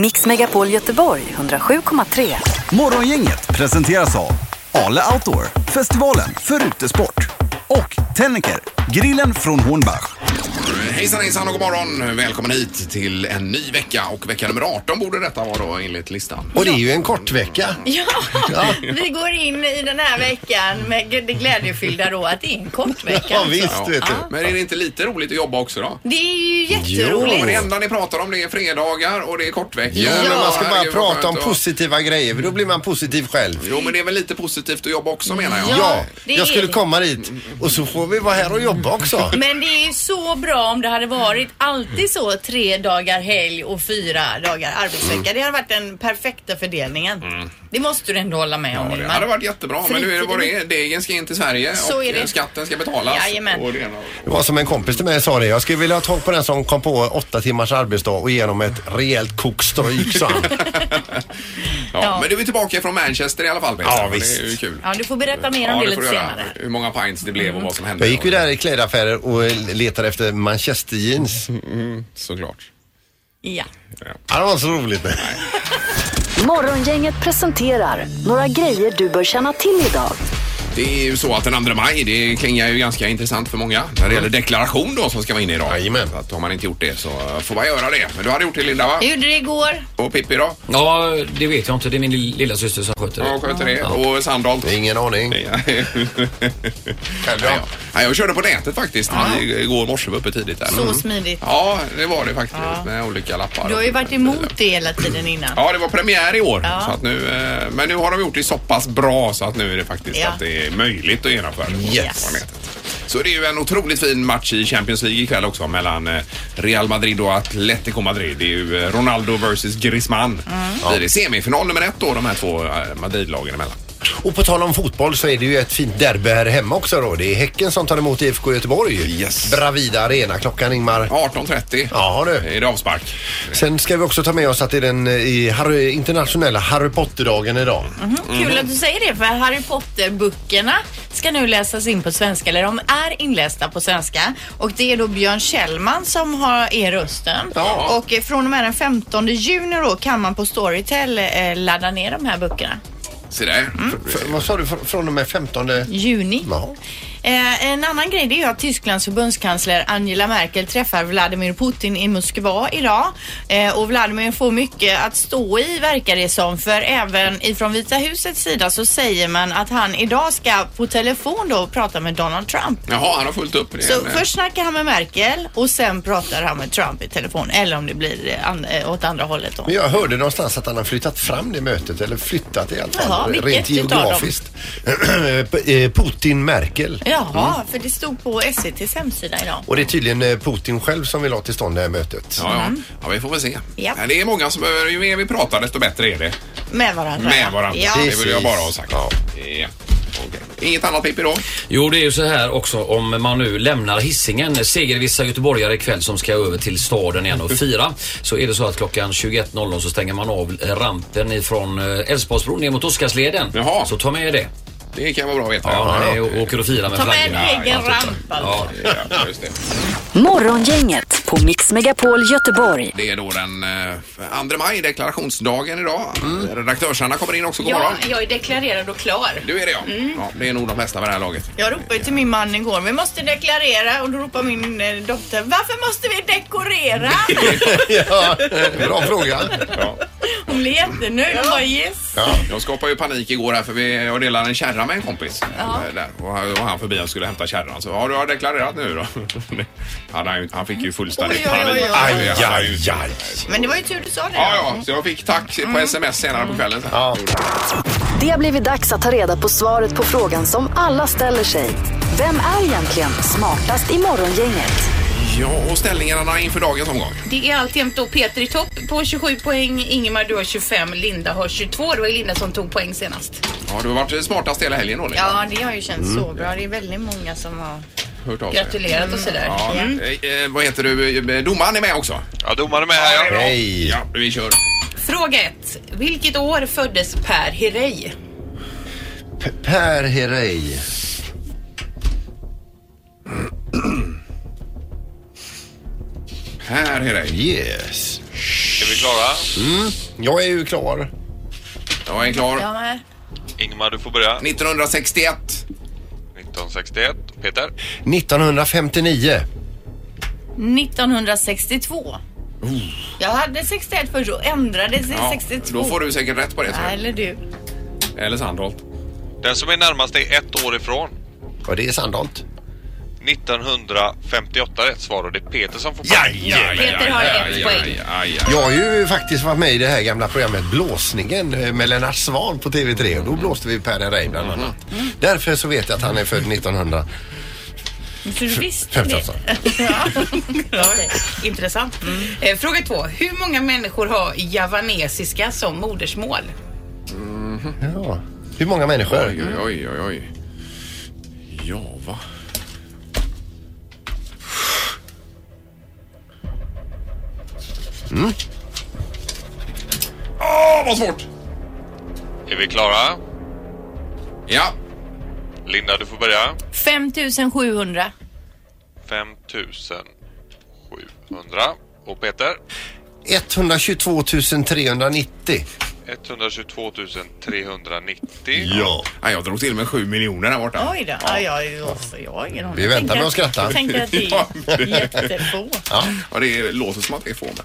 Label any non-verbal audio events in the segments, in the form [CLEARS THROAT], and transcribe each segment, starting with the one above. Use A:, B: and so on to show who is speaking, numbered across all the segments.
A: Mix Megapol Göteborg 107,3.
B: Morgongänget presenteras av Ale Outdoor, festivalen för utesport och Tennicker, grillen från Hornbach.
C: Hejsan hejsan och god morgon. Välkommen hit till en ny vecka och vecka nummer 18 borde detta vara då enligt listan.
D: Och det är ju en kort vecka.
E: Ja, vi går in i den här veckan med det glädjefyllda då att det är en kort vecka.
D: Ja, visst vet du.
C: Men är det inte lite roligt att jobba också då?
E: Det är ju
C: Men det
E: jätteroligt.
C: enda ni pratar om det är fredagar och det är kortveckor.
D: Ja, men man ska bara
C: Herregud, vad
D: prata om
C: skönt och-
D: positiva grejer för då blir man positiv själv.
C: Jo men det är väl lite positivt att jobba också menar jag.
D: Ja,
E: det
D: jag
E: är
D: skulle
E: det.
D: komma dit och så får vi vara här och jobba också.
E: Men det är ju så bra om det hade varit alltid så tre dagar helg och fyra dagar arbetsvecka. Det hade varit den perfekta fördelningen. Det måste du ändå hålla med om
C: Mm. Det
E: Ingmar.
C: hade varit jättebra men nu är det vad det är. Degen ska in till Sverige
E: Så
C: och eh,
E: är det.
C: skatten ska betalas.
E: Jajamän.
C: Och det ena-
D: Det var som en kompis till mig sa det. Jag skulle vilja ha tag på den som kom på åtta timmars arbetsdag och genom ett rejält kokstryk sa han.
C: Ja,
E: Ja.
C: Men du är tillbaka från Manchester i alla fall Peter.
D: Ja,
C: Och
D: visst.
C: Det är ju kul.
E: Ja, du får berätta mer om
C: Ja,
E: det
C: det får
E: lite
C: du göra.
E: senare.
C: Hur många pints det blev och vad som hände.
D: Mm. Jag gick ju där i klädaffärer och letade efter manchester jeans.
C: Såklart.
E: Ja.
D: Ja, det var så roligt.
A: Morgongänget presenterar några grejer du bör känna till idag.
C: Det är ju så att den 2 maj, det klingar ju ganska intressant för många när det gäller deklaration då som ska vara inne idag.
D: Jajamän.
C: Så att har man inte gjort det så får man göra det. Men du hade gjort det Linda va?
E: Jag gjorde det igår.
C: Och Pippi då?
F: Ja, det vet jag inte. Det är min lill- lilla syster som sköter det.
C: Ja, sköter det. Och Sandholt?
D: Ingen aning.
C: Ja. [LAUGHS] Ja, ja, jag körde på nätet faktiskt i- igår morse, var uppe tidigt där. Mm.
E: Så smidigt.
C: Ja, det var det faktiskt med olika lappar.
E: Du har ju varit emot det hela tiden innan.
C: Ja, det var premiär i år.
E: Ja.
C: Så att nu, eh, men nu har de gjort det så pass bra så att nu är det faktiskt
E: Ja.
C: att det är möjligt att genomföra det.
D: Yes.
C: på nätet. Så det är ju en otroligt fin match i Champions League ikväll också mellan eh, Real Madrid och Atletico Madrid. Det är ju eh, Ronaldo versus Griezmann.
E: Mm.
C: Blir det semifinal nummer ett då de här två eh, Madridlagen emellan.
D: Och på tal om fotboll så är det ju ett fint derby här hemma också då. Det är Häcken som tar emot IFK Göteborg.
C: Yes.
D: Bravida Arena. Klockan Ingmar.
C: 18.30
D: Ja du.
C: är det avspark.
D: Sen ska vi också ta med oss att det är den eh, i Harry, internationella Harry Potter-dagen idag.
E: Kul att du säger det för Harry Potter-böckerna ska nu läsas in på svenska, eller de är inlästa på svenska. Och det är då Björn Kjellman som har er rösten.
C: Ja.
E: Och eh, från och med den 15 juni då kan man på Storytel eh, ladda ner de här böckerna.
C: Se där.
E: Mm.
D: F- vad sa du? Fr- Från och med 15?
E: Juni.
D: Ja.
E: Eh, en annan grej det är ju att Tysklands förbundskansler Angela Merkel träffar Vladimir Putin i Moskva idag. Eh, och Vladimir får mycket att stå i verkar det som. För även ifrån Vita husets sida så säger man att han idag ska på telefon då prata med Donald Trump.
C: Jaha, han har fullt upp. Det är
E: Så
C: en, eh,
E: först snackar han med Merkel och sen pratar han med Trump i telefon. Eller om det blir eh, an- eh, åt andra hållet då.
D: Men jag hörde någonstans att han har flyttat fram det mötet eller flyttat i alla fall.
E: Jaha, vilket
D: rent
E: utav dem?
D: geografiskt. [CLEARS THROAT] P- eh, Putin Merkel.
E: Jaha, för det stod på SVTs hemsida idag.
D: Och det är tydligen eh, Putin själv som vill ha till stånd det här mötet.
C: Ja, ja. ja, vi får väl se.
E: Mm. Ja.
C: Men Det är många som behöver, ju mer vi pratar desto bättre är det.
E: Med varandra.
C: Med varandra.
E: Ja.
C: Det vill jag bara ha sagt. Ja.
D: Ja.
C: Okej. Inget annat Pippi då?
F: Jo, det är ju så här också om man nu lämnar hissingen Segervissa göteborgare ikväll som ska över till staden igen och fira. Så är det så att klockan 21.00 så stänger man av eh, rampen ifrån eh, Älvsborgsbron ner mot Oscarsleden.
C: Jaha.
F: Så ta med det.
C: Det kan vara bra att veta.
F: Ja, när ni å- åker och firar med
E: Ta med en
F: flaggorna.
E: egen
F: Ja,
E: ramp alltså.
C: Ja, just det.
A: Morgongänget på Mix Megapol Göteborg.
C: det är då den eh, 2 maj, deklarationsdagen idag. Redaktörsarna kommer in också. God
E: Ja, Mm.
C: morgon.
E: jag är deklarerad och klar.
C: Du är det ja. ja. Det är nog de flesta vid det här laget.
E: Jag ropade till min man igår, vi måste deklarera och då ropar min eh, dotter, varför måste vi
C: [LAUGHS]
E: dekorera?
D: ja, [LAUGHS] bra fråga.
C: Ja.
E: Hon blev jättenöjd, hon bara yes.
D: Ja.
C: Jag skapade ju panik igår här för vi, jag delade en kärra med en kompis. eh, Där, och han och han förbi och skulle hämta kärran. Så ja, du har deklarerat nu då. [LAUGHS] han, har ju- han fick ju fullständigt
E: Oj, oj, oj,
C: panik.
E: oj.
D: Aj,
C: Han har ju-
D: aj, aj.
E: Men det var ju tur du sa det.
C: Ja, ja, så jag fick tack på
E: Mm.
C: sms senare på kvällen.
D: Ja.
A: Det har blivit dags att ta reda på svaret på frågan som alla ställer sig. Vem är egentligen smartast i morgongänget?
C: Ja, och ställningarna inför dagens omgång.
G: Det är alltjämt då Peter i topp på 27 poäng, Ingemar du har 25, Linda har 22. Det var ju Linda som tog poäng senast.
C: Ja, du har varit smartast hela helgen då, Linda.
E: Ja, det har ju känts så
C: Mm.
E: bra. Det är väldigt många som har... Mm.
C: Hört av sig.
G: Gratulerat och sådär.
C: Ja, eh, eh, vad heter du? Eh, Domaren är med också.
H: Ja, domaren med här ja.
D: Hej.
C: Ja, vi kör.
G: Fråga 1. Vilket år föddes Per Herrey?
D: P- Per Herrey.
C: Här är det.
D: Yes.
H: Ska vi klara?
D: Jag är ju klar.
C: Jag är
E: Jag
C: klar.
E: med.
H: Ingmar, du får börja.
C: 1961.
H: 1961. Peter?
D: 1959.
E: 1962. Jag hade 61 först och ändrade till
C: Ja,
E: 62.
C: då får du säkert rätt på det. tror jag.
E: Eller du.
C: Eller Sandholt.
H: Den som är närmast är ett år ifrån.
D: Ja, det är Sandholt.
H: 1958 rätt svar och det är Peter som får
G: Peter har ett poäng.
D: Jag har ju faktiskt varit med i det här gamla programmet Blåsningen eh, med Lennart Swahn på TV3 och då blåste vi Per Ray bland annat. Därför så vet jag att han är född 1900.
E: Så du visste
D: Skämt
E: det.
D: alltså.
G: Ja, det är Intressant. Eh, Fråga två. Hur många människor har javanesiska som modersmål?
D: Ja. Hur många människor?
C: Oj, oj, oj, oj, oj. Ja, va? Mm. Åh, vad svårt!
H: Är vi klara?
C: Ja,
H: Linda, du får börja.
E: 5700.
H: 5700. Och Peter?
D: 122 390.
H: 122 390.
C: Ja, jag drog till med sju miljoner där borta.
E: Oj då. Ja. Ja, jag, jag har ingen aning.
D: Vi väntar med att skratta.
E: Jag tänker att det
C: [LAUGHS]
E: är jättefå.
C: Ja, det låter som att det är få, men...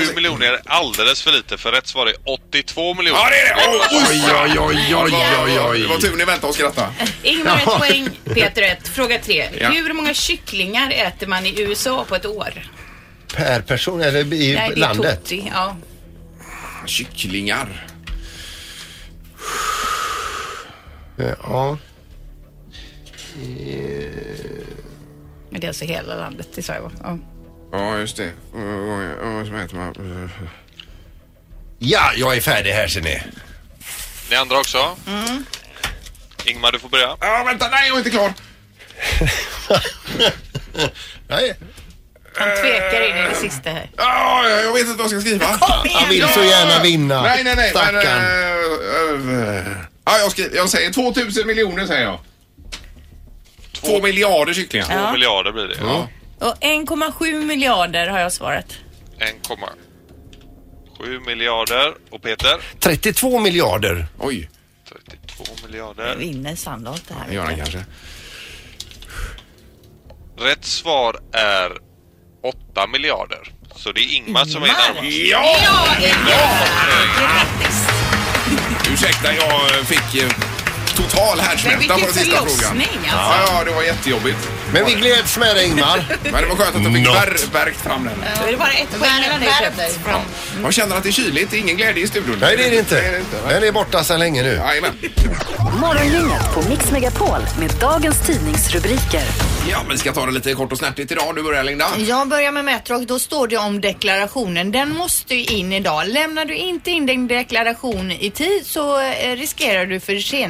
H: 7 miljoner är alldeles för lite för rätt svar är 82 miljoner.
C: Ja, det är det! Oj, oj, oj, oj, oj, oj. Det var tur ni väntade och skrattade.
G: Ingmar ett poäng, Peter ett. Fråga tre.
C: Ja.
G: Hur många kycklingar äter man i USA på ett år?
D: Per person eller i
G: Nej, det är
D: landet?
G: 20. Ja.
C: Kycklingar.
D: Ja.
G: Men det är alltså hela landet, det sa jag va? Ja.
C: Ja, just det. Vad som heter man?
D: ja, jag är färdig här ser ni.
H: Ni andra också? Ingmar, du får börja.
C: Ja, vänta, nej, jag är inte klar.
D: Nej,
G: Han tvekar in i det sista här.
C: Ja, jag vet inte vad jag ska skriva.
D: han vill så gärna vinna.
C: Nej, nej, nej. Men,
D: Stackarn.
C: eh, eh, ja, jag, skri- jag säger 2000 miljoner säger jag. Två miljarder kycklingar.
H: 2 miljarder blir det.
E: Och 1,7 miljarder har jag svarat.
H: 1,7 miljarder. Och Peter?
D: 32 miljarder.
C: Oj,
H: 32
E: Jag
H: miljarder.
E: vinner Sandholt det här.
C: det gör han kanske.
H: Rätt svar är 8 miljarder. Så det är Ingmar som är närmast.
C: Ja!
G: Ja, Ingmar! Grattis!
C: Ursäkta, jag fick eh, total
G: Men
C: härdsmälta på
G: vilken
C: den sista frågan.
G: förlossning alltså.
C: Ja, ja, det var jättejobbigt.
D: Men vi gläds med dig Ingmar.
C: [LAUGHS] Men det var skönt att de
D: Not.
C: fick värkt fram den.
G: Då är det bara ett poäng mellan dig Peter. Ja.
C: Jag känner att det är kyligt. Det är ingen glädje i studion.
D: Nej, det är det
C: Nej,
D: inte. Den är borta sedan länge nu.
C: Jajamän.
A: Morgongänget på Mix Megapol med dagens tidningsrubriker.
C: Ja, men vi ska ta det lite kort och snärtigt idag. Du börjar Linda.
E: Jag börjar med Metro och då står det om deklarationen. Den måste ju in idag. Lämnar du inte in din deklaration i tid så eh, riskerar du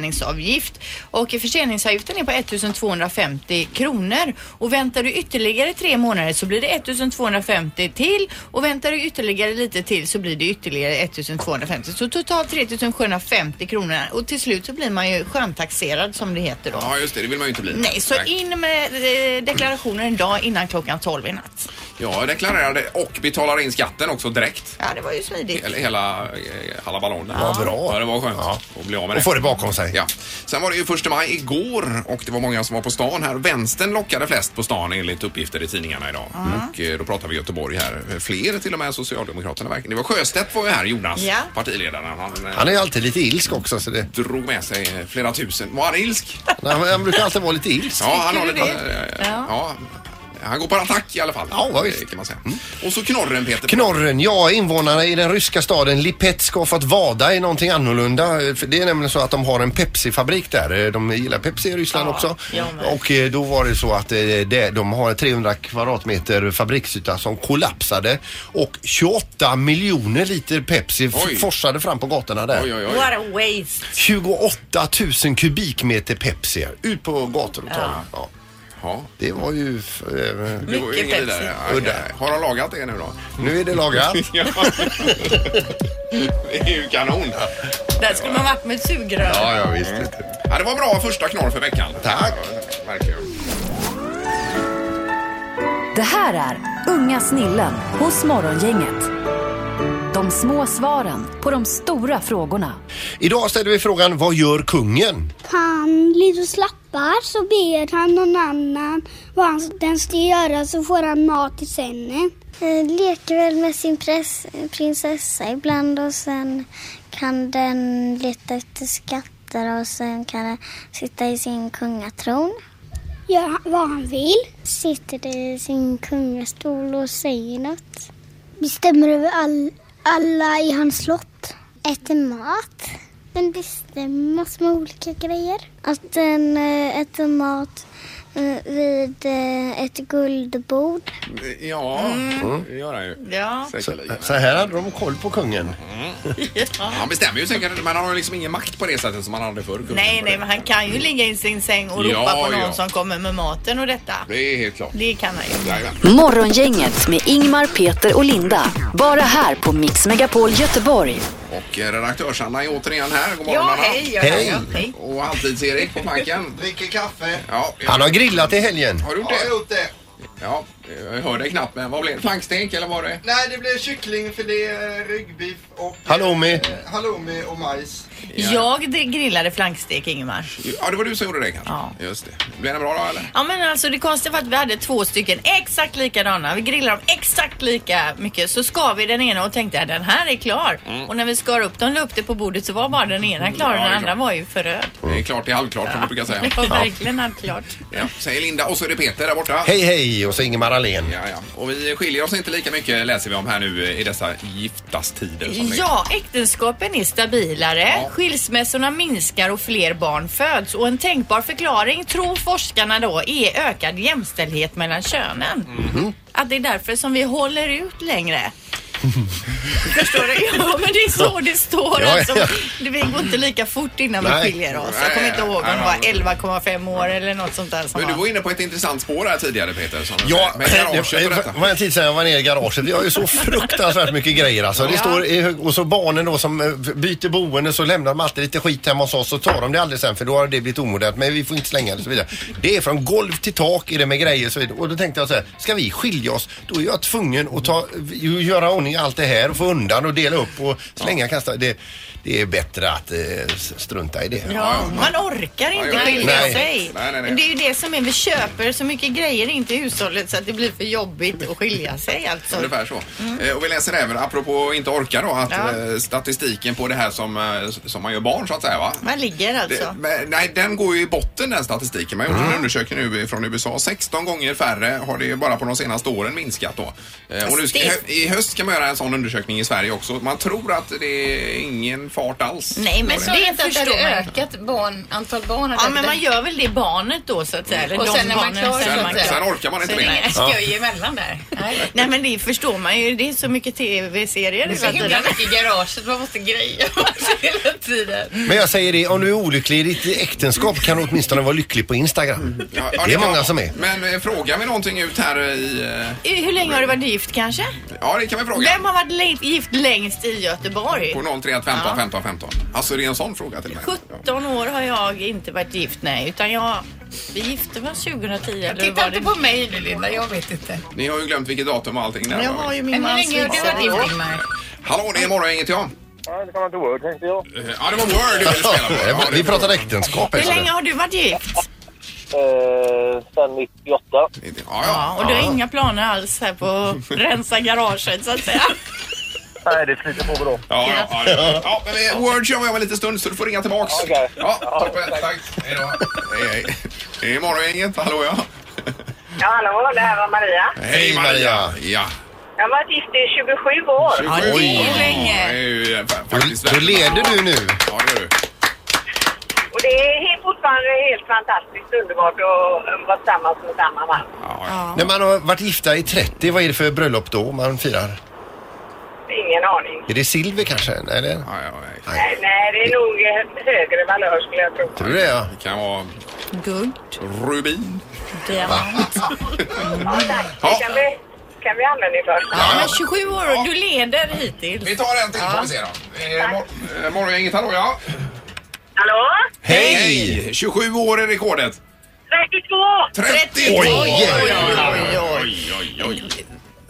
E: förseningsavgift. Och förseningsavgiften är på 1250 kronor. Och väntar du ytterligare tre månader så blir det 1250 till. Och väntar du ytterligare lite till så blir det ytterligare 1250. Så totalt 3750 kronor. Och till slut så blir man ju skönstaxerad som det heter då.
C: Ja, just det. Det vill man ju inte bli.
E: Nej, så in med eh, deklarationen idag innan klockan 12 i natt.
C: Jag deklarerade och betalar in skatten också direkt.
E: Ja, det var ju smidigt.
C: Eller hela eh, halaballongen.
D: Vad bra.
C: Ja, det var skönt
D: Ja.
C: att bli av med det.
D: Och få det bakom sig.
C: Ja. Sen var det ju första maj igår och det var många som var på stan här. Vänstern lockade flest på stan enligt uppgifter i tidningarna idag. Och eh, då pratar vi Göteborg här. Fler till och med än Socialdemokraterna verkligen. Det var Sjöstedt var ju här, Jonas,
E: Ja.
C: partiledaren. Han, eh,
D: Han är alltid lite ilsk också. Så det,
C: drog med sig eh, flera tusen. Var han
E: [LAUGHS]
C: ilsk?
D: han, han brukar alltid vara lite ilsk.
C: Ja, han har
E: du
C: lite...
E: det?
C: eh,
E: Ja.
C: Ja. Han går på attack i alla fall.
D: Ja, vad
C: Eh,
D: visst. Mm.
C: Kan man säga. Och så knorren Peter.
D: Knorren, ja invånarna i den ryska staden Lipetsk har fått vada i någonting annorlunda. För Det är nämligen så att de har en Pepsi-fabrik där. De gillar Pepsi i Ryssland också.
E: jag med.
D: Och eh, då var det så att eh, det- de har 300 kvadratmeter fabriksyta som kollapsade och 28 miljoner liter Pepsi f-
C: Oj.
D: forsade fram på gatorna där.
C: Oj, oj, oj.
E: What a waste.
D: 28 000 kubikmeter Pepsi ut på gator och torg. Ja.
C: Ja.
D: Det var ju... f- eh,
C: Det går ju
E: Mycket
C: inget vidare.
E: Pepsi.
C: Aj,
D: Udda.
C: aj. Har de lagat det nu då? [LAUGHS]
D: Nu är det lagat.
C: Ja. det är ju kanon.
E: Där skulle man varit med ett sugrör.
D: Ja, ja visst.
C: Ja, det var bra första knorr för veckan.
D: Tack.
C: Ja, verkligen.
A: Det här är Unga snillen hos Morgongänget. De små svaren på de stora frågorna.
D: Idag ställer vi frågan, vad gör kungen?
I: han ligger och slappar så ber han någon annan vad han, den ska göra så får han mat i sängen. Leker väl med sin prinsessa ibland och sen kan den leta efter skatter och sen kan den sitta i sin kungatron. Gör vad han vill. Sitter i sin kungastol och säger något. Bestämmer över all, alla i hans slott. Äter mat. Den bestämmer massor med olika grejer. Att den eh, äter mat eh, vid eh, ett guldbord.
C: Ja, det gör han ju.
E: Ja.
C: Säkerligen.
D: Så här hade de koll på kungen.
C: Han bestämmer ju säkert. Man har ju liksom ingen makt på det sättet som man hade förr. kungen.
E: Nej, nej, men han kan ju ligga i sin säng och
C: Ja,
E: ropa på någon
C: ja.
E: som kommer med maten och detta.
C: Det är helt klart.
E: Det kan han ju.
C: Jajamän.
A: Morgongänget med Ingmar, Peter och Linda. Bara här på Mix Megapol Göteborg.
C: Och eh, redaktörs-Anna är återigen här. God morgon
G: Ja,
C: Anna.
G: hej. Ja,
D: Hej.
G: Ja, hej.
C: Och halvtids-Erik på plankan.
J: [LAUGHS] Dricker kaffe.
C: Ja, jag-
D: Han har grillat i helgen.
C: har du gjort
J: Har jag
C: det?
J: gjort det?
C: Ja, jag hörde knappt men vad blev det? Flankstek eller var det?
J: Nej, det blev kycklingfilé, eh, ryggbiff och...
D: Halloumi.
J: Eh, halloumi och majs.
E: Jag det grillade flankstek, Ingemar.
C: Ja, det var du som gjorde det kanske?
E: Ja.
C: Just det. Blev den bra då eller?
E: Ja men alltså det konstiga var att vi hade två stycken exakt likadana. Vi grillade dem exakt lika mycket. Så skar vi den ena och tänkte att den här är klar. Och när vi skar upp den och la upp det på bordet så var bara den ena klar och
C: Mm. Ja, det
E: den
C: är
E: andra
C: klart.
E: var ju förröd.
C: Det är klart, det är halvklart som man brukar säga.
E: Det var [LAUGHS] verkligen allt klart.
C: Ja, säger Linda. Och så är det Peter där borta.
D: Hej hej och så Ingemar Ahlén.
C: Ja, ja. Och vi skiljer oss inte lika mycket läser vi om här nu eh, i dessa giftastider. som det är.
E: Ja, äktenskapen är stabilare, skilsmässorna minskar och fler barn föds. Och en tänkbar förklaring, tror forskarna då, är ökad jämställdhet mellan könen.
D: Mhm.
E: Att det är därför som vi håller ut längre. [LAUGHS] Förstår du? Ja, men det är så det står.
D: Ja, ja.
E: Alltså, det går inte lika fort innan vi
D: Nej.
E: skiljer oss. Jag kommer inte ihåg om det var 11,5 år eller något sånt där. Som
C: Men du
E: var.
C: var inne på ett intressant spår här tidigare Peter. Som
D: [LAUGHS] Ja,
C: med garaget och
D: det
C: detta.
D: var en tid sedan jag var nere i garaget. Vi har ju så fruktansvärt mycket grejer alltså. Det står, i hög- och så barnen då som eh, byter boende så lämnar de alltid lite skit hemma hos oss och tar de det aldrig sen för då har det blivit omodernt men vi får inte slänga det och så vidare. Det är från golv till tak är det med grejer och så vidare. Och då tänkte jag så här, ska vi skilja oss då är jag tvungen att ta, ju- göra ordning i allt det här och få undan och dela upp och slänga kasta. Det, det är bättre att eh, s- strunta i det.
E: Ja, man orkar inte
C: ja, ja.
E: skilja
D: Nej.
E: sig.
C: Nej, nej, nej.
E: Men det är ju det som är, vi köper så mycket grejer in till hushållet så att det blir för jobbigt att skilja sig alltså.
C: Ungefär så. Eh, Och vi läser även, apropå inte orka då, att
E: Ja.
C: eh, statistiken på det här som, eh, som man gör barn så att säga va?
E: Man ligger alltså.
C: Det- men, nej, den går ju i botten den statistiken. Man gjorde en undersökning nu från USA. 16 gånger färre har det ju bara på de senaste åren minskat då. Eh, Och nu ska, i hö- I höst ska man göra en sån undersökning i Sverige också. Man tror att det är ingen fart alls.
E: Nej men
G: Men sa
E: det
G: du inte att det
E: förstår
G: hade
E: man.
G: ökat barn, antal barn? hade
E: Ja men
G: det-
E: man gör väl det barnet då så att säga. Eller
G: Och
E: de
G: sen när man
E: barnen,
G: klarar
E: sen
G: sig,
E: man
G: så att
E: klarar-
C: Sen orkar man inte
E: så är det
C: mer.
G: Nej, skoj emellan där. Nej.
E: [LAUGHS] Nej men det förstår man ju. Det är så mycket tv-serier
G: Det är så
E: hela
G: himla
E: tiden.
G: mycket i garaget, man måste greja hela tiden.
D: Men jag säger det, om du är olycklig i ditt äktenskap kan du åtminstone vara lycklig på Instagram.
C: Ja, ja,
D: Det är
C: kan-
D: många som är.
C: Men eh, frågar vi någonting ut här i... eh,
E: Hur länge har du varit gift kanske?
C: Ja, det kan vi fråga.
E: Vem har varit le- gift längst i Göteborg?
C: På 031 15 15 15. Alltså det är en sån fråga till mig. Ja.
E: 17 år har jag inte varit gift, nej. Utan jag... Vi gifte oss 2010. Eller
G: Titta
E: var
G: inte
E: det...
G: på mig nu Linda, jag vet inte.
C: Ni har ju glömt vilket datum och allting där.
E: Jag
C: va?
E: har ju min
G: Men hur
E: mans
G: länge har du varit gift
E: vigselring.
G: Ingmar?
C: Hallå, det är morgon, inget jag.
K: Ja, det kan man tro, tänkte jag.
C: Ja, det var Word du ville spela
D: [LAUGHS]
C: på. Ja, det
D: Eh, Vi
C: förstår
D: pratar
C: jag.
D: äktenskap.
E: Hur
D: alltså.
E: länge har du varit gift?
K: Eh, sen 98.
C: Ja,
E: Ja,
C: ja.
E: och du har inga planer alls här på
C: [LAUGHS]
E: att rensa garaget så att säga.
K: Nej, det flyter på bra.
C: Ja, ja, ja, ja. ja, men eh, Word kör vi om en liten stund så du får ringa tillbaks.
K: Okej.
C: Ja, toppen. Tack. Hej då. Hej, hej. Det är morgon, inget. Hallå, ja.
L: Ja, hallå, det här var Maria.
D: Hej, Maria.
C: Ja.
L: Jag har varit gift i 27 år.
E: Ja, det är ju
C: Ja, det
E: länge.
C: är ju, eh, fa- faktiskt
D: Då, då
C: väldigt-
D: leder du nu.
C: Ja, det gör du.
L: Och det är helt- fortfarande helt fantastiskt underbart att um, vara tillsammans med samma man.
C: Ja, ja.
D: När man har varit gifta i 30, vad är det för bröllop då man firar?
L: Ingen aning.
D: Är det silver kanske? Eller?
C: Ja, ja, nej.
L: Nej, Nej, det är nog eh, högre valör skulle jag tro.
D: Tror du det? Ja.
C: Det kan vara
E: Guld,
C: rubin.
E: diamant.
L: Ja, tack.
C: Ja.
L: Det kan vi, kan vi använda det för.
E: Ja, men 27 år och du leder hittills.
C: Vi tar en till får vi se då. Eh, mor- eh, Morgongänget, hallå ja.
L: Hallå?
D: Hej!
C: 27 år är rekordet.
L: 32!
C: 32!
D: Oj, oj,
C: oj, oj, oj, oj.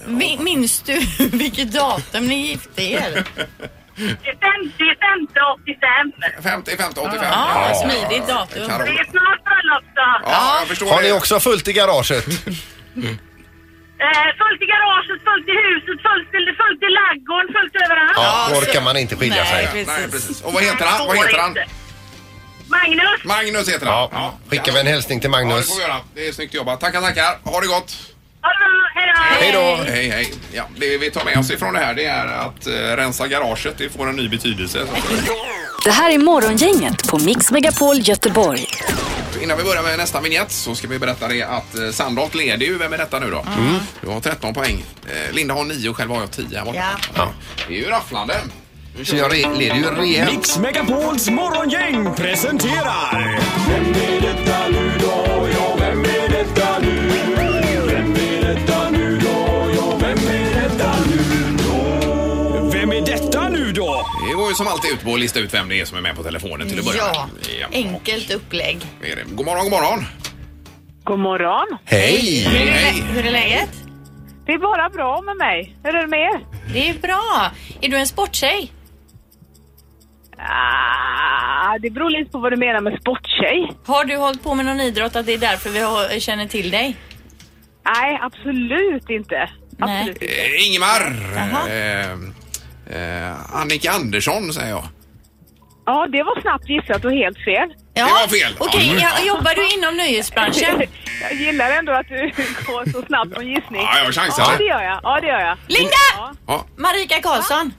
E: Mi- Minns du [LAUGHS] vilket datum ni gifte er?
L: 50-85.
C: 50, 50, 85.
E: Ja, smidigt datum.
L: Det är snart bröllopsdag.
C: Ja, jag förstår
D: Har ni
C: det.
D: också fullt i garaget?
L: Eh, fullt i garaget, fullt i huset, fullt i, fullt i laggården, fullt överallt.
D: Ja, då orkar man inte skilja sig.
C: Nej, nej, precis. Och vad heter han? Vad heter han?
L: Magnus.
C: Magnus heter han. Ja.
D: Skickar vi en hälsning till
C: Ja, det
D: Magnus.
C: får vi göra. Det är snyggt jobbat. Tackar, tackar. Ha det gott.
L: Ha det bra, hej då.
D: Hej då!
C: Hej, hej. Ja, det vi tar med oss ifrån det här det är att eh, rensa garaget. Det får en ny betydelse.
A: Det här är Morgongänget på Mix Megapol Göteborg.
C: Innan vi börjar med nästa vignett så ska vi berätta det att eh, Sandholt leder ju. Vem är detta nu då?
D: Mm.
C: Mm. Du har 13 poäng. Eh, Linda har 9 och själv har jag 10 här borta. Ja. Det är ju rafflande. Nu
D: Så jag re- leder ju rejält.
M: Mix Megapols morgongäng presenterar... Vem är detta nu då? Ja, vem är detta nu? Vem är detta nu då? Ja, vem är detta nu då? Vem är detta nu då?
C: Det går ju som alltid ut på att lista ut vem det är som är med på telefonen till att börja
E: Ja,
C: med. Ja.
E: enkelt upplägg.
C: det är det. God morgon, god morgon.
L: God morgon.
D: Hej!
E: Hur är, lä- hur är läget?
L: Det är bara bra med mig. Hur är det med er?
E: Det är bra. Är du en sporttjej?
L: Ah, det beror lite på vad du menar med sporttjej.
E: Har du hållit på med någon idrott att det är därför vi har, känner till dig?
L: Nej, absolut inte. Absolut inte.
C: Eh, Ingemar! Eh, eh, Annika Andersson säger jag.
L: Ja, det var snabbt gissat och helt fel.
E: Ja.
C: Det var fel.
E: Okej,
C: Ja.
E: ja, jobbar du inom nöjesbranschen?
L: [LAUGHS] Jag gillar ändå att du [LAUGHS] går så snabbt på en gissning.
C: Ja, jag chansar.
L: Ja, det gör jag. Ja, det gör jag.
E: Linda!
C: Ja.
E: Marika Karlsson.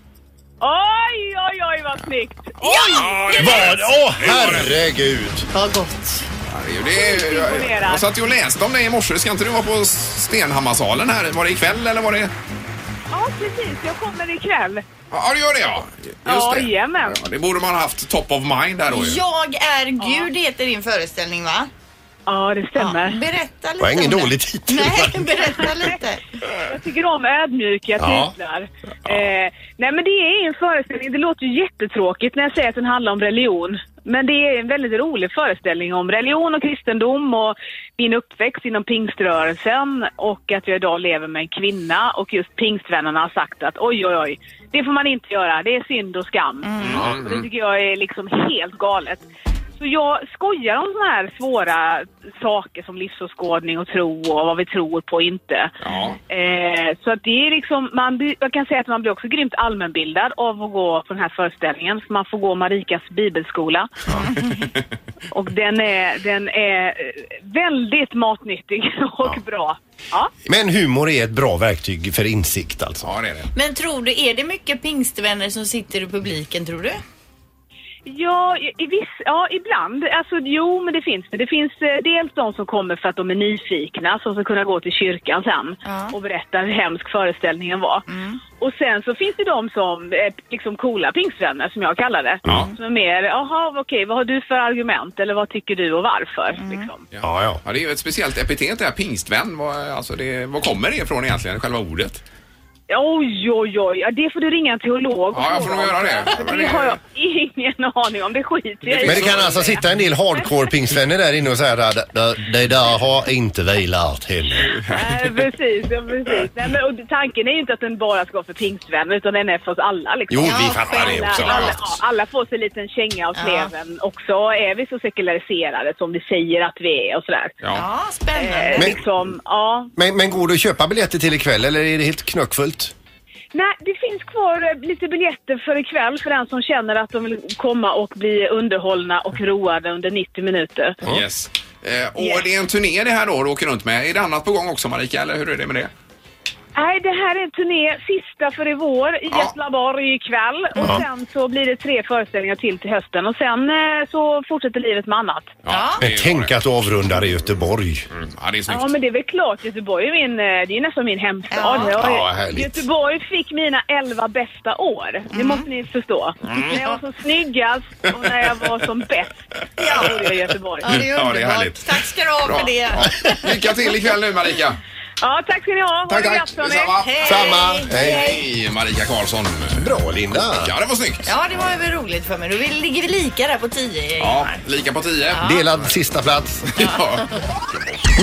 L: Oj, oj, oj vad snyggt!
E: Ja! det är
D: Vad?
E: rätt.
D: Åh, herregud!
E: Vad gott.
C: Ja, det är ju det. Jag-
L: Imponerad.
C: Jag satt ju och läste om dig i morse. Ska inte du vara på Stenhammarsalen här? Var det ikväll eller var det?
L: Ja, precis. Jag kommer ikväll.
C: Ja, det gör det ja.
L: Ja,
C: det.
L: jajamän.
C: Ja, det borde man ha haft top of mind där då ju.
E: Jag är Gud heter din föreställning va?
L: Ja, det stämmer.
E: Berätta lite
D: var ingen
E: om den.
D: dålig titel.
E: Nej, [LAUGHS] berätta lite.
L: Jag tycker om ödmjuka
D: Ja.
L: titlar. Eh, nej men det är en föreställning, det låter ju jättetråkigt när jag säger att den handlar om religion. Men det är en väldigt rolig föreställning om religion och kristendom och min uppväxt inom pingströrelsen och att jag idag lever med en kvinna och just pingstvännerna har sagt att oj oj oj, det får man inte göra, det är synd och skam. Och det tycker jag är liksom helt galet. Så jag skojar om såna här svåra saker som livsåskådning och tro och vad vi tror på och inte.
C: Ja.
L: Eh, så att det är liksom, man, blir- jag kan säga att man blir också grymt allmänbildad av att gå på den här föreställningen. För man får gå Marikas bibelskola. och den är, den är eh, väldigt matnyttig och bra. Ja.
D: Men humor är ett bra verktyg för insikt alltså.
C: Ja, det är det.
E: Men tror du, är det mycket pingstvänner som sitter i publiken tror du?
L: Ja, i- i viss, ja, ibland. Alltså, jo, men det finns det. Det finns eh, dels de som kommer för att de är nyfikna, som ska kunna gå till kyrkan sen
E: Ja.
L: och berätta hur hemsk föreställningen var. Och sen så finns det de som är liksom coola pingstvänner, som jag kallar det.
C: Ja.
L: Som är mer, jaha, okej, vad har du för argument eller vad tycker du och varför? Liksom.
D: Ja, ja.
C: Ja, det är ju ett speciellt epitet det här, pingstvän. Vad, alltså det, vad kommer det ifrån egentligen, själva ordet?
L: Oj, oj, oj, ja, det får du ringa en teolog
C: Ja, jag får nog göra det.
L: Alltså, det har jag ingen [LAUGHS] aning om, det skiter jag i.
D: Men det kan alltså sitta en del hardcore pingstvänner där inne och säga att det där har inte vi lärt henne.
L: Nej, precis. Ja, precis. Nej, men, och tanken är ju inte att den bara ska vara för pingstvänner utan den är för oss alla. Liksom.
D: Jo, vi fattar det
L: alla,
D: också.
L: alla, ja, alla får sig en liten känga av
E: Ja.
L: sleven också. Är vi så sekulariserade som vi säger att vi är och sådär.
C: Ja.
E: Ja, spännande.
L: Eh,
D: Men-
L: liksom, ja.
D: Men, men går det att köpa biljetter till ikväll eller är det helt knöckfullt?
L: Nej, det finns kvar eh, lite biljetter för ikväll för den som känner att de vill komma och bli underhållna och roade under 90 minuter.
C: Yes. Eh, och det är en turné det här då du åker runt med. Är det annat på gång också Marika, eller hur är det med det?
L: Nej, det här är en turné, sista för i vår, i
C: Ja.
L: Göteborg ikväll. Och
D: Ja.
L: sen så blir det tre föreställningar till till hösten. Och sen eh, så fortsätter livet med annat.
C: Ja,
D: Men
C: det är
D: tänk
C: det.
D: att du avrundar i Göteborg.
C: Mm, Ja, det är snyggt.
L: Ja, men det är väl klart. Göteborg är, min, eh, det är ju nästan min hemstad.
E: Ja.
L: Jag-
D: Ja, härligt.
L: Göteborg fick mina elva bästa år. Det måste ni förstå. När jag var som snyggast och när jag var som bäst, ja. då bodde jag i Göteborg.
E: Ja, det är
C: Mm. Ja, det är
E: underbart.
C: härligt.
E: Tack ska du ha
C: Bra.
E: för det.
C: Ja. Lycka till ikväll nu Marika.
L: Ja, tack ska ni ha.
C: Tack,
L: ha det
C: tack.
L: gött, hörni.
C: Detsamma.
E: Hej.
D: Samma. Hej.
C: Hej, Marika Karlsson.
D: Bra Linda.
C: Ja, det var snyggt.
E: Ja, det var väl roligt för mig. Då vill- ligger vi lika där på 10.
C: Ja, lika på tio.
D: Delad sista plats.
C: [LAUGHS] Ja.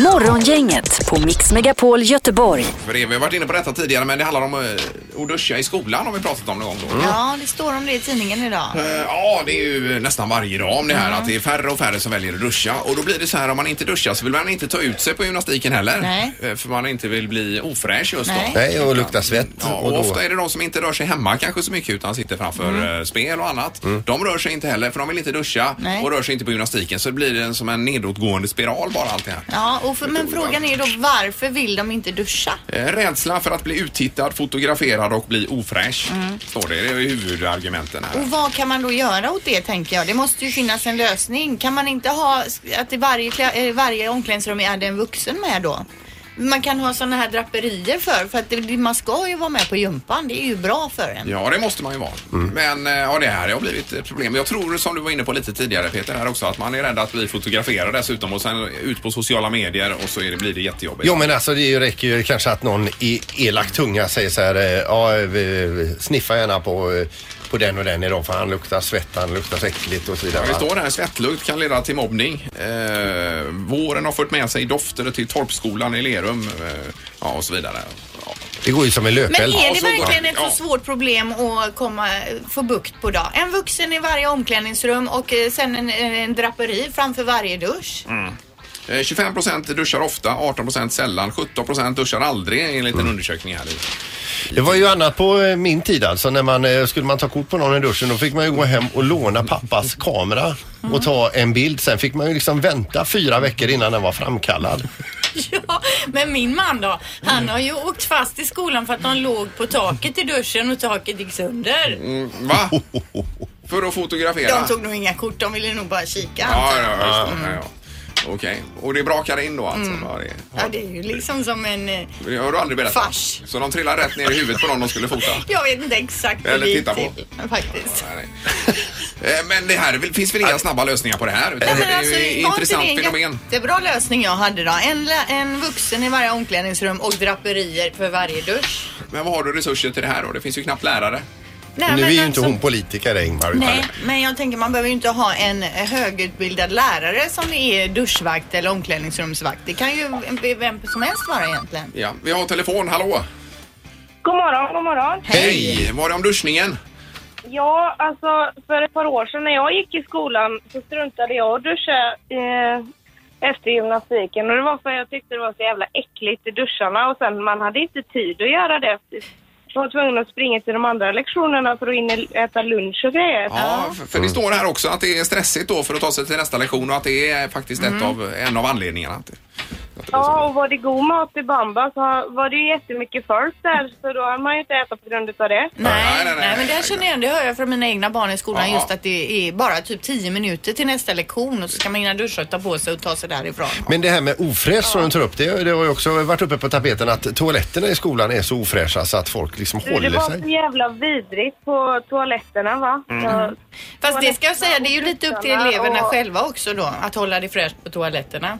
A: Morgongänget på Mix Megapol Göteborg.
C: För det, vi har varit inne på detta tidigare men det handlar om eh, att duscha i skolan har vi pratat om någon gång. Då.
E: Ja, det står om det i tidningen idag.
C: Eh, Ja, det är ju nästan varje dag om det här att det är färre och färre som väljer att duscha. Och då blir det så här om man inte duschar så vill man inte ta ut sig på gymnastiken heller.
E: Nej.
C: Eh, För man inte vill bli ofräsch just
D: Nej.
C: då.
D: Nej, och lukta svett.
C: Ja, och
D: Och då-
C: ofta är det de som inte rör sig hemma kanske så mycket utan sitter framför eh, spel och annat. De rör sig inte heller för de vill inte duscha
E: Nej.
C: och rör sig inte på gymnastiken så det blir en, som en nedåtgående spiral bara allt det här.
E: Ja, och för, men frågan är ju då varför vill de inte duscha?
C: Eh, Rädsla för att bli uttittad, fotograferad och bli ofräsch.
E: Mm.
C: Står det. Det är ju huvudargumenten här.
E: Och vad kan man då göra åt det tänker jag? Det måste ju finnas en lösning. Kan man inte ha att i varje, klä- eh, varje omklädningsrum är det en vuxen med då? Man kan ha sådana här draperier för, för att det, man ska ju vara med på gympan. Det är ju bra för en.
C: Ja, det måste man ju vara. Men eh, ja, det här har blivit ett problem. Jag tror, som du var inne på lite tidigare Peter, här också att man är rädd att bli fotograferad dessutom och sen ut på sociala medier och så är det, blir det jättejobbigt.
D: Jo men alltså det räcker ju kanske att någon i elak tunga säger så här, eh, ja eh, sniffa gärna på, eh, på den och den idag för han luktar svett, han luktar så äckligt och så
C: Ja,
D: vidare.
C: det
D: va?
C: står här, svettlukt kan leda till mobbning. Eh, våren har fört med sig dofter till torpskolan i Lerum eh, ja, och så vidare.
D: Det går ju som en
E: Men
D: löpeld.
E: är det verkligen ett så svårt problem att komma, få bukt på då? En vuxen i varje omklädningsrum och eh, sen en, en draperi framför varje dusch.
C: Mm. Eh, 25 procent duschar ofta, 18 procent sällan, 17 procent duschar aldrig enligt en undersökning här.
D: Det var ju annat på eh, min tid alltså. När man, eh, skulle man ta kort på någon i duschen då fick man ju gå hem och låna
E: [LAUGHS]
D: pappas kamera
E: Mm.
D: och ta en bild. Sen fick man ju liksom vänta fyra veckor innan den var framkallad.
E: [LAUGHS] Ja, men min man då, han har ju åkt fast i skolan för att han låg på taket i duschen och taket gick sönder.
C: Mm,
E: [LAUGHS]
C: va? För att fotografera?
E: De tog nog inga kort, de ville nog bara kika.
C: Ja,
E: antar
C: ja,
E: jag.
C: ja,
E: Mm.
C: ja, ja. Okej, och det brakade in då alltså?
E: Mm.
C: Ja, det-
E: Ja, det är ju liksom som en... eh,
C: Det har du aldrig berättat?
E: Fars.
C: Så de trillade rätt ner i huvudet på någon de
E: [LAUGHS]
C: skulle fota?
E: Jag vet inte exakt hur
C: Eller
E: det gick
C: titta på.
E: till, Faktiskt.
C: Eh, Men det här, det finns väl inga snabba lösningar på det här? Utan
E: Nej,
C: det
E: men
C: är
E: alltså,
C: ju ett
E: var inte
C: intressant
E: det en
C: fenomen.
E: jättebra lösning jag hade då? En, lä- en vuxen i varje omklädningsrum och draperier för varje dusch.
C: Men vad har du resurser till det här då? Det finns ju knappt lärare.
E: Nej, men alltså-
D: politiker Ingmar. utan-
E: Nej, men jag tänker man behöver ju inte ha en högutbildad lärare som är duschvakt eller omklädningsrumsvakt. Det kan ju vem som helst vara egentligen.
C: Ja, vi har telefon, hallå!
N: God morgon, god morgon.
C: Hej! Var det om duschningen?
N: Ja, alltså för ett par år sedan när jag gick i skolan så struntade jag att duscha eh, efter gymnastiken. Och det var för att jag tyckte det var så jävla äckligt i duscharna och sen man hade inte tid att göra det. Jag var tvungen att springa till de andra lektionerna för att in och äta lunch och grejer.
C: Ja, För
E: Mm.
C: det står här också att det är stressigt då för att ta sig till nästa lektion och att det är faktiskt
E: Mm.
C: ett av, en av anledningarna.
N: Ja, och var det god mat i Bamba så var det ju jättemycket folk där så då har man ju inte ätit på grund av det.
E: Nej, nej, men det här känner jag igen. Det hör jag från mina egna barn i skolan
N: Ja.
E: just att det är bara typ 10 minuter till nästa lektion och så ska man hinna duscha och ta på sig och ta sig därifrån.
D: Men det här med ofräsch som du tar upp, det, det har ju också varit uppe på tapeten att toaletterna i skolan är så ofräscha så att folk liksom
N: Du, det
D: håller
N: var så
D: sig.
N: jävla vidrigt på toaletterna va?
D: Mm.
N: Jag-
E: Fast det ska jag säga, det är ju lite upp till eleverna
N: Och-
E: själva också då att hålla det fräscht på toaletterna.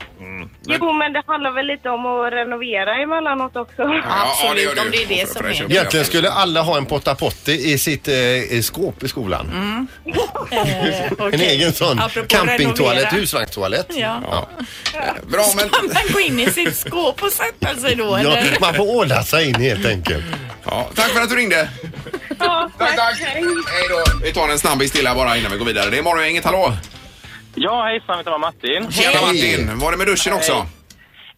N: Jo, Mm. men det handlar väl lite om att renovera emellanåt också.
E: Absolut,
N: gör det
E: om
N: ju.
E: det är det som är.
D: Egentligen skulle alla ha en potta potti i sitt eh, i skåp i skolan. [LAUGHS]
E: Mm. Eh,
D: En
E: okej.
D: egen sån
E: Apropå
D: campingtoalett,
E: renovera.
D: husvagnstoalett.
E: Ja.
C: Bra, men...
E: Ska man gå in i sitt skåp och sätta sig då
D: Ja,
E: eller?
D: man får åla sig in helt enkelt.
C: Ja, tack för att du ringde!
N: tack, tack.
C: Hej då. Vi tar en snabbis till här bara innan vi går vidare. Det är morgongänget, hallå!
K: Ja, hejsan, heter Martin.
C: Tjena Martin! Var det med duschen också?
K: Hej.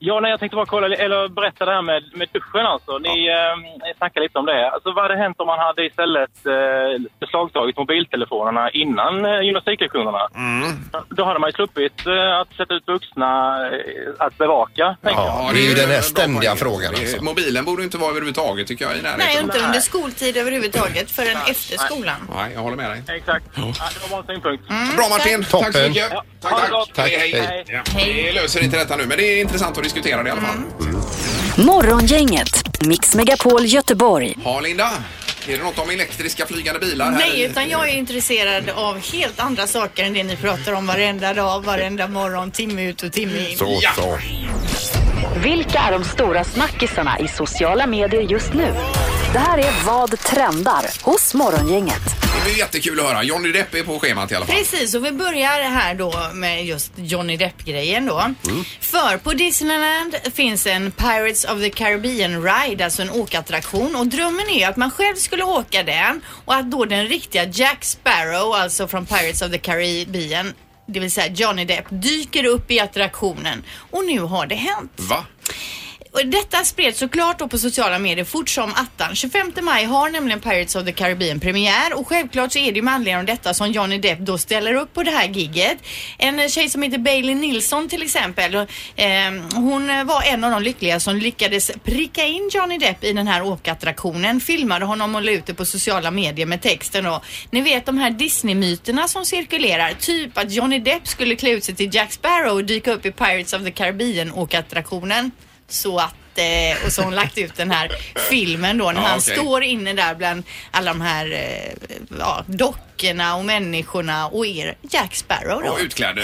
K: Ja, nej, jag tänkte bara kolla, eller berätta det här med, med duschen alltså. Ni eh, snackade lite om det. Alltså, vad hade hänt om man hade istället eh, beslagtagit mobiltelefonerna innan eh, gymnastiklektionerna? Då hade man ju sluppit eh, att sätta ut vuxna eh, att bevaka, tänker jag.
D: Ja, det är ju den här ständiga frågan alltså.
C: Mobilen borde inte vara överhuvudtaget tycker jag i närheten.
E: Nej, inte under skoltid överhuvudtaget förrän efter skolan.
C: Nej, jag håller med dig.
K: Exakt. Ja, det var bara en synpunkt.
C: Bra Martin!
E: tack.
C: Tack så
E: Toppen.
C: mycket!
K: Ja,
C: Tack,
K: ha det
C: tack!
K: gott.
C: Hej, hej!
K: Hej.
C: Ja, Vi löser inte detta nu, men det är intressant att diskutera det i alla fall.
E: Mm.
A: Morgongänget, Mix Megapol Göteborg.
C: Ja, Linda. Är det något om elektriska flygande bilar? här
E: Nej,
C: i-
E: utan jag är intresserad av helt andra saker än det ni pratar om varenda dag, varenda morgon, timme ut och timme in.
A: Ja. Vilka är de stora snackisarna i sociala medier just nu? Det här är Vad trendar hos Morgongänget.
C: Det blir jättekul att höra. Johnny Depp är på schemat i alla fall.
E: Precis, och vi börjar här då med just Johnny Depp-grejen då. För på Disneyland finns en Pirates of the Caribbean Ride, alltså en åkattraktion. Och drömmen är ju att man själv skulle åka den och att då den riktiga Jack Sparrow, alltså från Pirates of the Caribbean, det vill säga Johnny Depp, dyker upp i attraktionen. Och nu har det hänt.
C: Va?
E: Och detta spreds såklart då på sociala medier fort som attan. 25 maj har nämligen Pirates of the Caribbean premiär och självklart så är det ju med anledning av detta som Johnny Depp då ställer upp på det här gigget. En eh, tjej som heter Bailey Nilsson till exempel. eh, Hon eh, var en av de lyckliga som lyckades pricka in Johnny Depp i den här åkattraktionen, filmade honom och la ut det på sociala medier med texten då. Ni vet de här Disney-myterna som cirkulerar, typ att Johnny Depp skulle klä ut sig till Jack Sparrow och dyka upp i Pirates of the Caribbean åkattraktionen. Så att, eh, och så har hon lagt ut den här filmen då när
O: Ja,
E: han
O: okej.
E: står inne där bland alla de här eh, ja, dockorna och människorna och er Jack Sparrow då.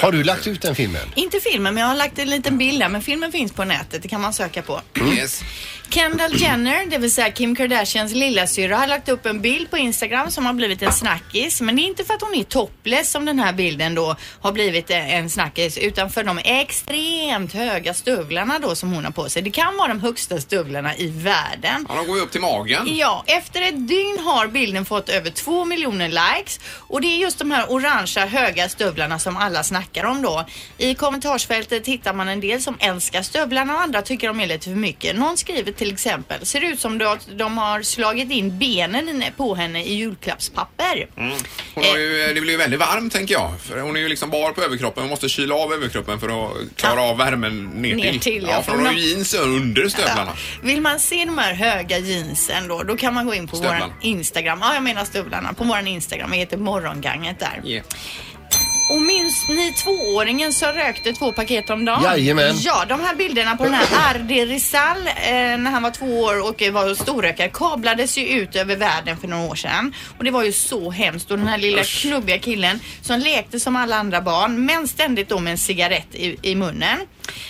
D: Har du lagt ut den filmen?
E: Inte filmen, men jag har lagt en liten bild där. Men filmen finns på nätet, det kan man söka på.
C: Mm. Yes.
E: Kendall Jenner, det vill säga Kim Kardashians lillasyrra, har lagt upp en bild på Instagram som har blivit en snackis. Men det är inte för att hon är topless som den här bilden då har blivit eh, en snackis, utan för de extremt höga stövlarna då som hon har på sig. Det kan vara de högsta stövlarna i världen.
C: Ja, de går ju upp till magen.
E: Ja, efter ett dygn har bilden fått över två miljoner likes och det är just de här orangea höga stövlarna som alla snackar om då. I kommentarsfältet hittar man en del som älskar stövlarna och andra tycker de är lite för mycket. Någon skriver till exempel, ser ut som att de har slagit in benen på henne i julklappspapper.
C: Mm. Hon har ju, det blir ju väldigt varmt tänker jag. För hon är ju liksom bar på överkroppen. Hon måste kyla av överkroppen för att klara av värmen ner till.
E: Ner till, ja.
C: ja, för hon har ju jeans under stövlarna.
E: Vill man se de här höga jeansen då, då kan man gå in på
C: Stövlarna.
E: våran Instagram. Ja, jag menar stövlarna. På våran Instagram. Vi heter Morgonganget där. Och minns ni tvååringen som rökte två paket om dagen?
D: Jajamän.
E: Ja, de här bilderna på den här Ardi Rizal eh, när han var två år och eh, var storrökare kablades ju ut över världen för några år sedan. Och det var ju så hemskt. Och den här lilla knubbiga killen som lekte som alla andra barn men ständigt då med en cigarett i, i munnen.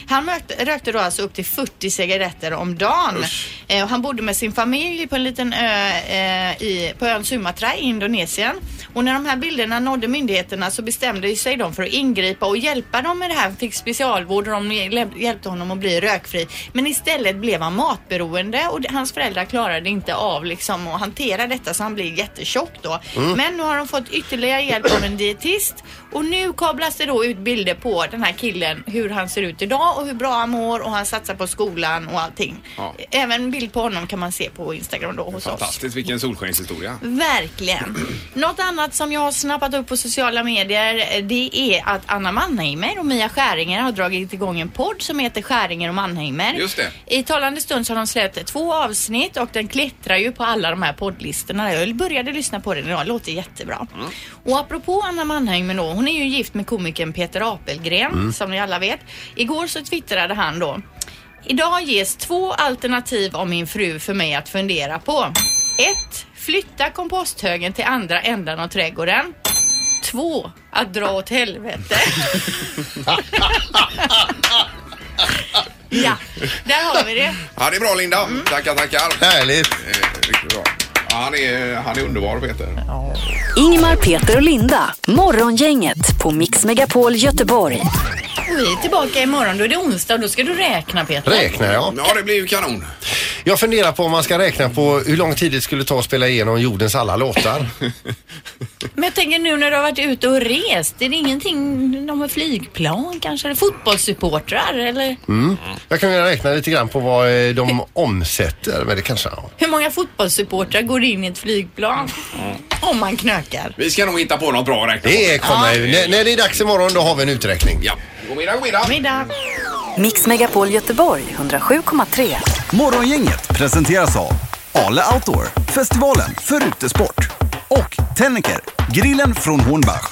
E: Han mökte, rökte då alltså upp till 40 cigaretter om dagen. Eh, och han bodde med sin familj på en liten ö eh, i, på ön Sumatra i Indonesien. Och när de här bilderna nådde myndigheterna så bestämde ju sig de för att ingripa och hjälpa dem med det här. Han fick specialvård och de lä- hjälpte honom att bli rökfri. Men istället blev han matberoende och d- hans föräldrar klarade inte av liksom att hantera detta så han blev jättetjock då.
O: Mm.
E: Men nu har de fått ytterligare hjälp av en dietist och nu kablas det då ut bilder på den här killen hur han ser ut idag och hur bra han mår och han satsar på skolan och allting.
C: Ja.
E: Även bild på honom kan man se på Instagram då hos oss.
C: Fantastiskt, vilken solskenshistoria.
E: Verkligen. Något annat som jag har snappat upp på sociala medier eh, det är att Anna Mannheimer och Mia Skäringer har dragit igång en podd som heter Skäringer och Mannheimer.
C: Just det.
E: I talande stund så har de släppt två avsnitt och den klättrar ju på alla de här poddlistorna. Jag började lyssna på den idag, låter jättebra. Och apropå Anna Mannheimer då, hon är ju gift med komikern Peter Apelgren
O: Mm.
E: som ni alla vet. Igår så twittrade han då. Idag ges två alternativ av min fru för mig att fundera på. Ett, Flytta komposthögen till andra änden av trädgården. Två, Att dra åt helvete. ja, där har vi det.
C: Ja, det är bra Linda.
E: Mm.
C: Tackar, tackar. Härligt. Eh, riktigt bra. Ja, han, är, han är underbar Peter.
A: Ingmar, Peter och Linda. Morgongänget på Mix Megapol Göteborg.
E: Och vi är tillbaka imorgon. Då är det onsdag och då ska du räkna Peter.
D: Räknar jag.
C: Ja, det blir ju kanon.
D: Jag funderar på om man ska räkna på hur lång tid det skulle ta att spela igenom jordens alla [LAUGHS] låtar.
E: Men jag tänker nu när du har varit ute och rest, är det ingenting, de har flygplan kanske? Eller fotbollssupportrar eller?
D: Mm. Jag kan väl räkna lite grann på vad eh, de omsätter, men det kanske... ja.
E: Hur många fotbollssupportrar går in i ett flygplan? Om man knökar.
C: Vi ska nog hitta på något bra att räkna på.
D: Det kommer ju. När, när det är dags imorgon då har vi en uträkning.
C: Ja. God middag, god middag.
E: middag.
A: Mix Megapol Göteborg 107,3.
B: Morgongänget presenteras av Ale Outdoor, festivalen för utesport. Och Tennicker, grillen från Hornbach.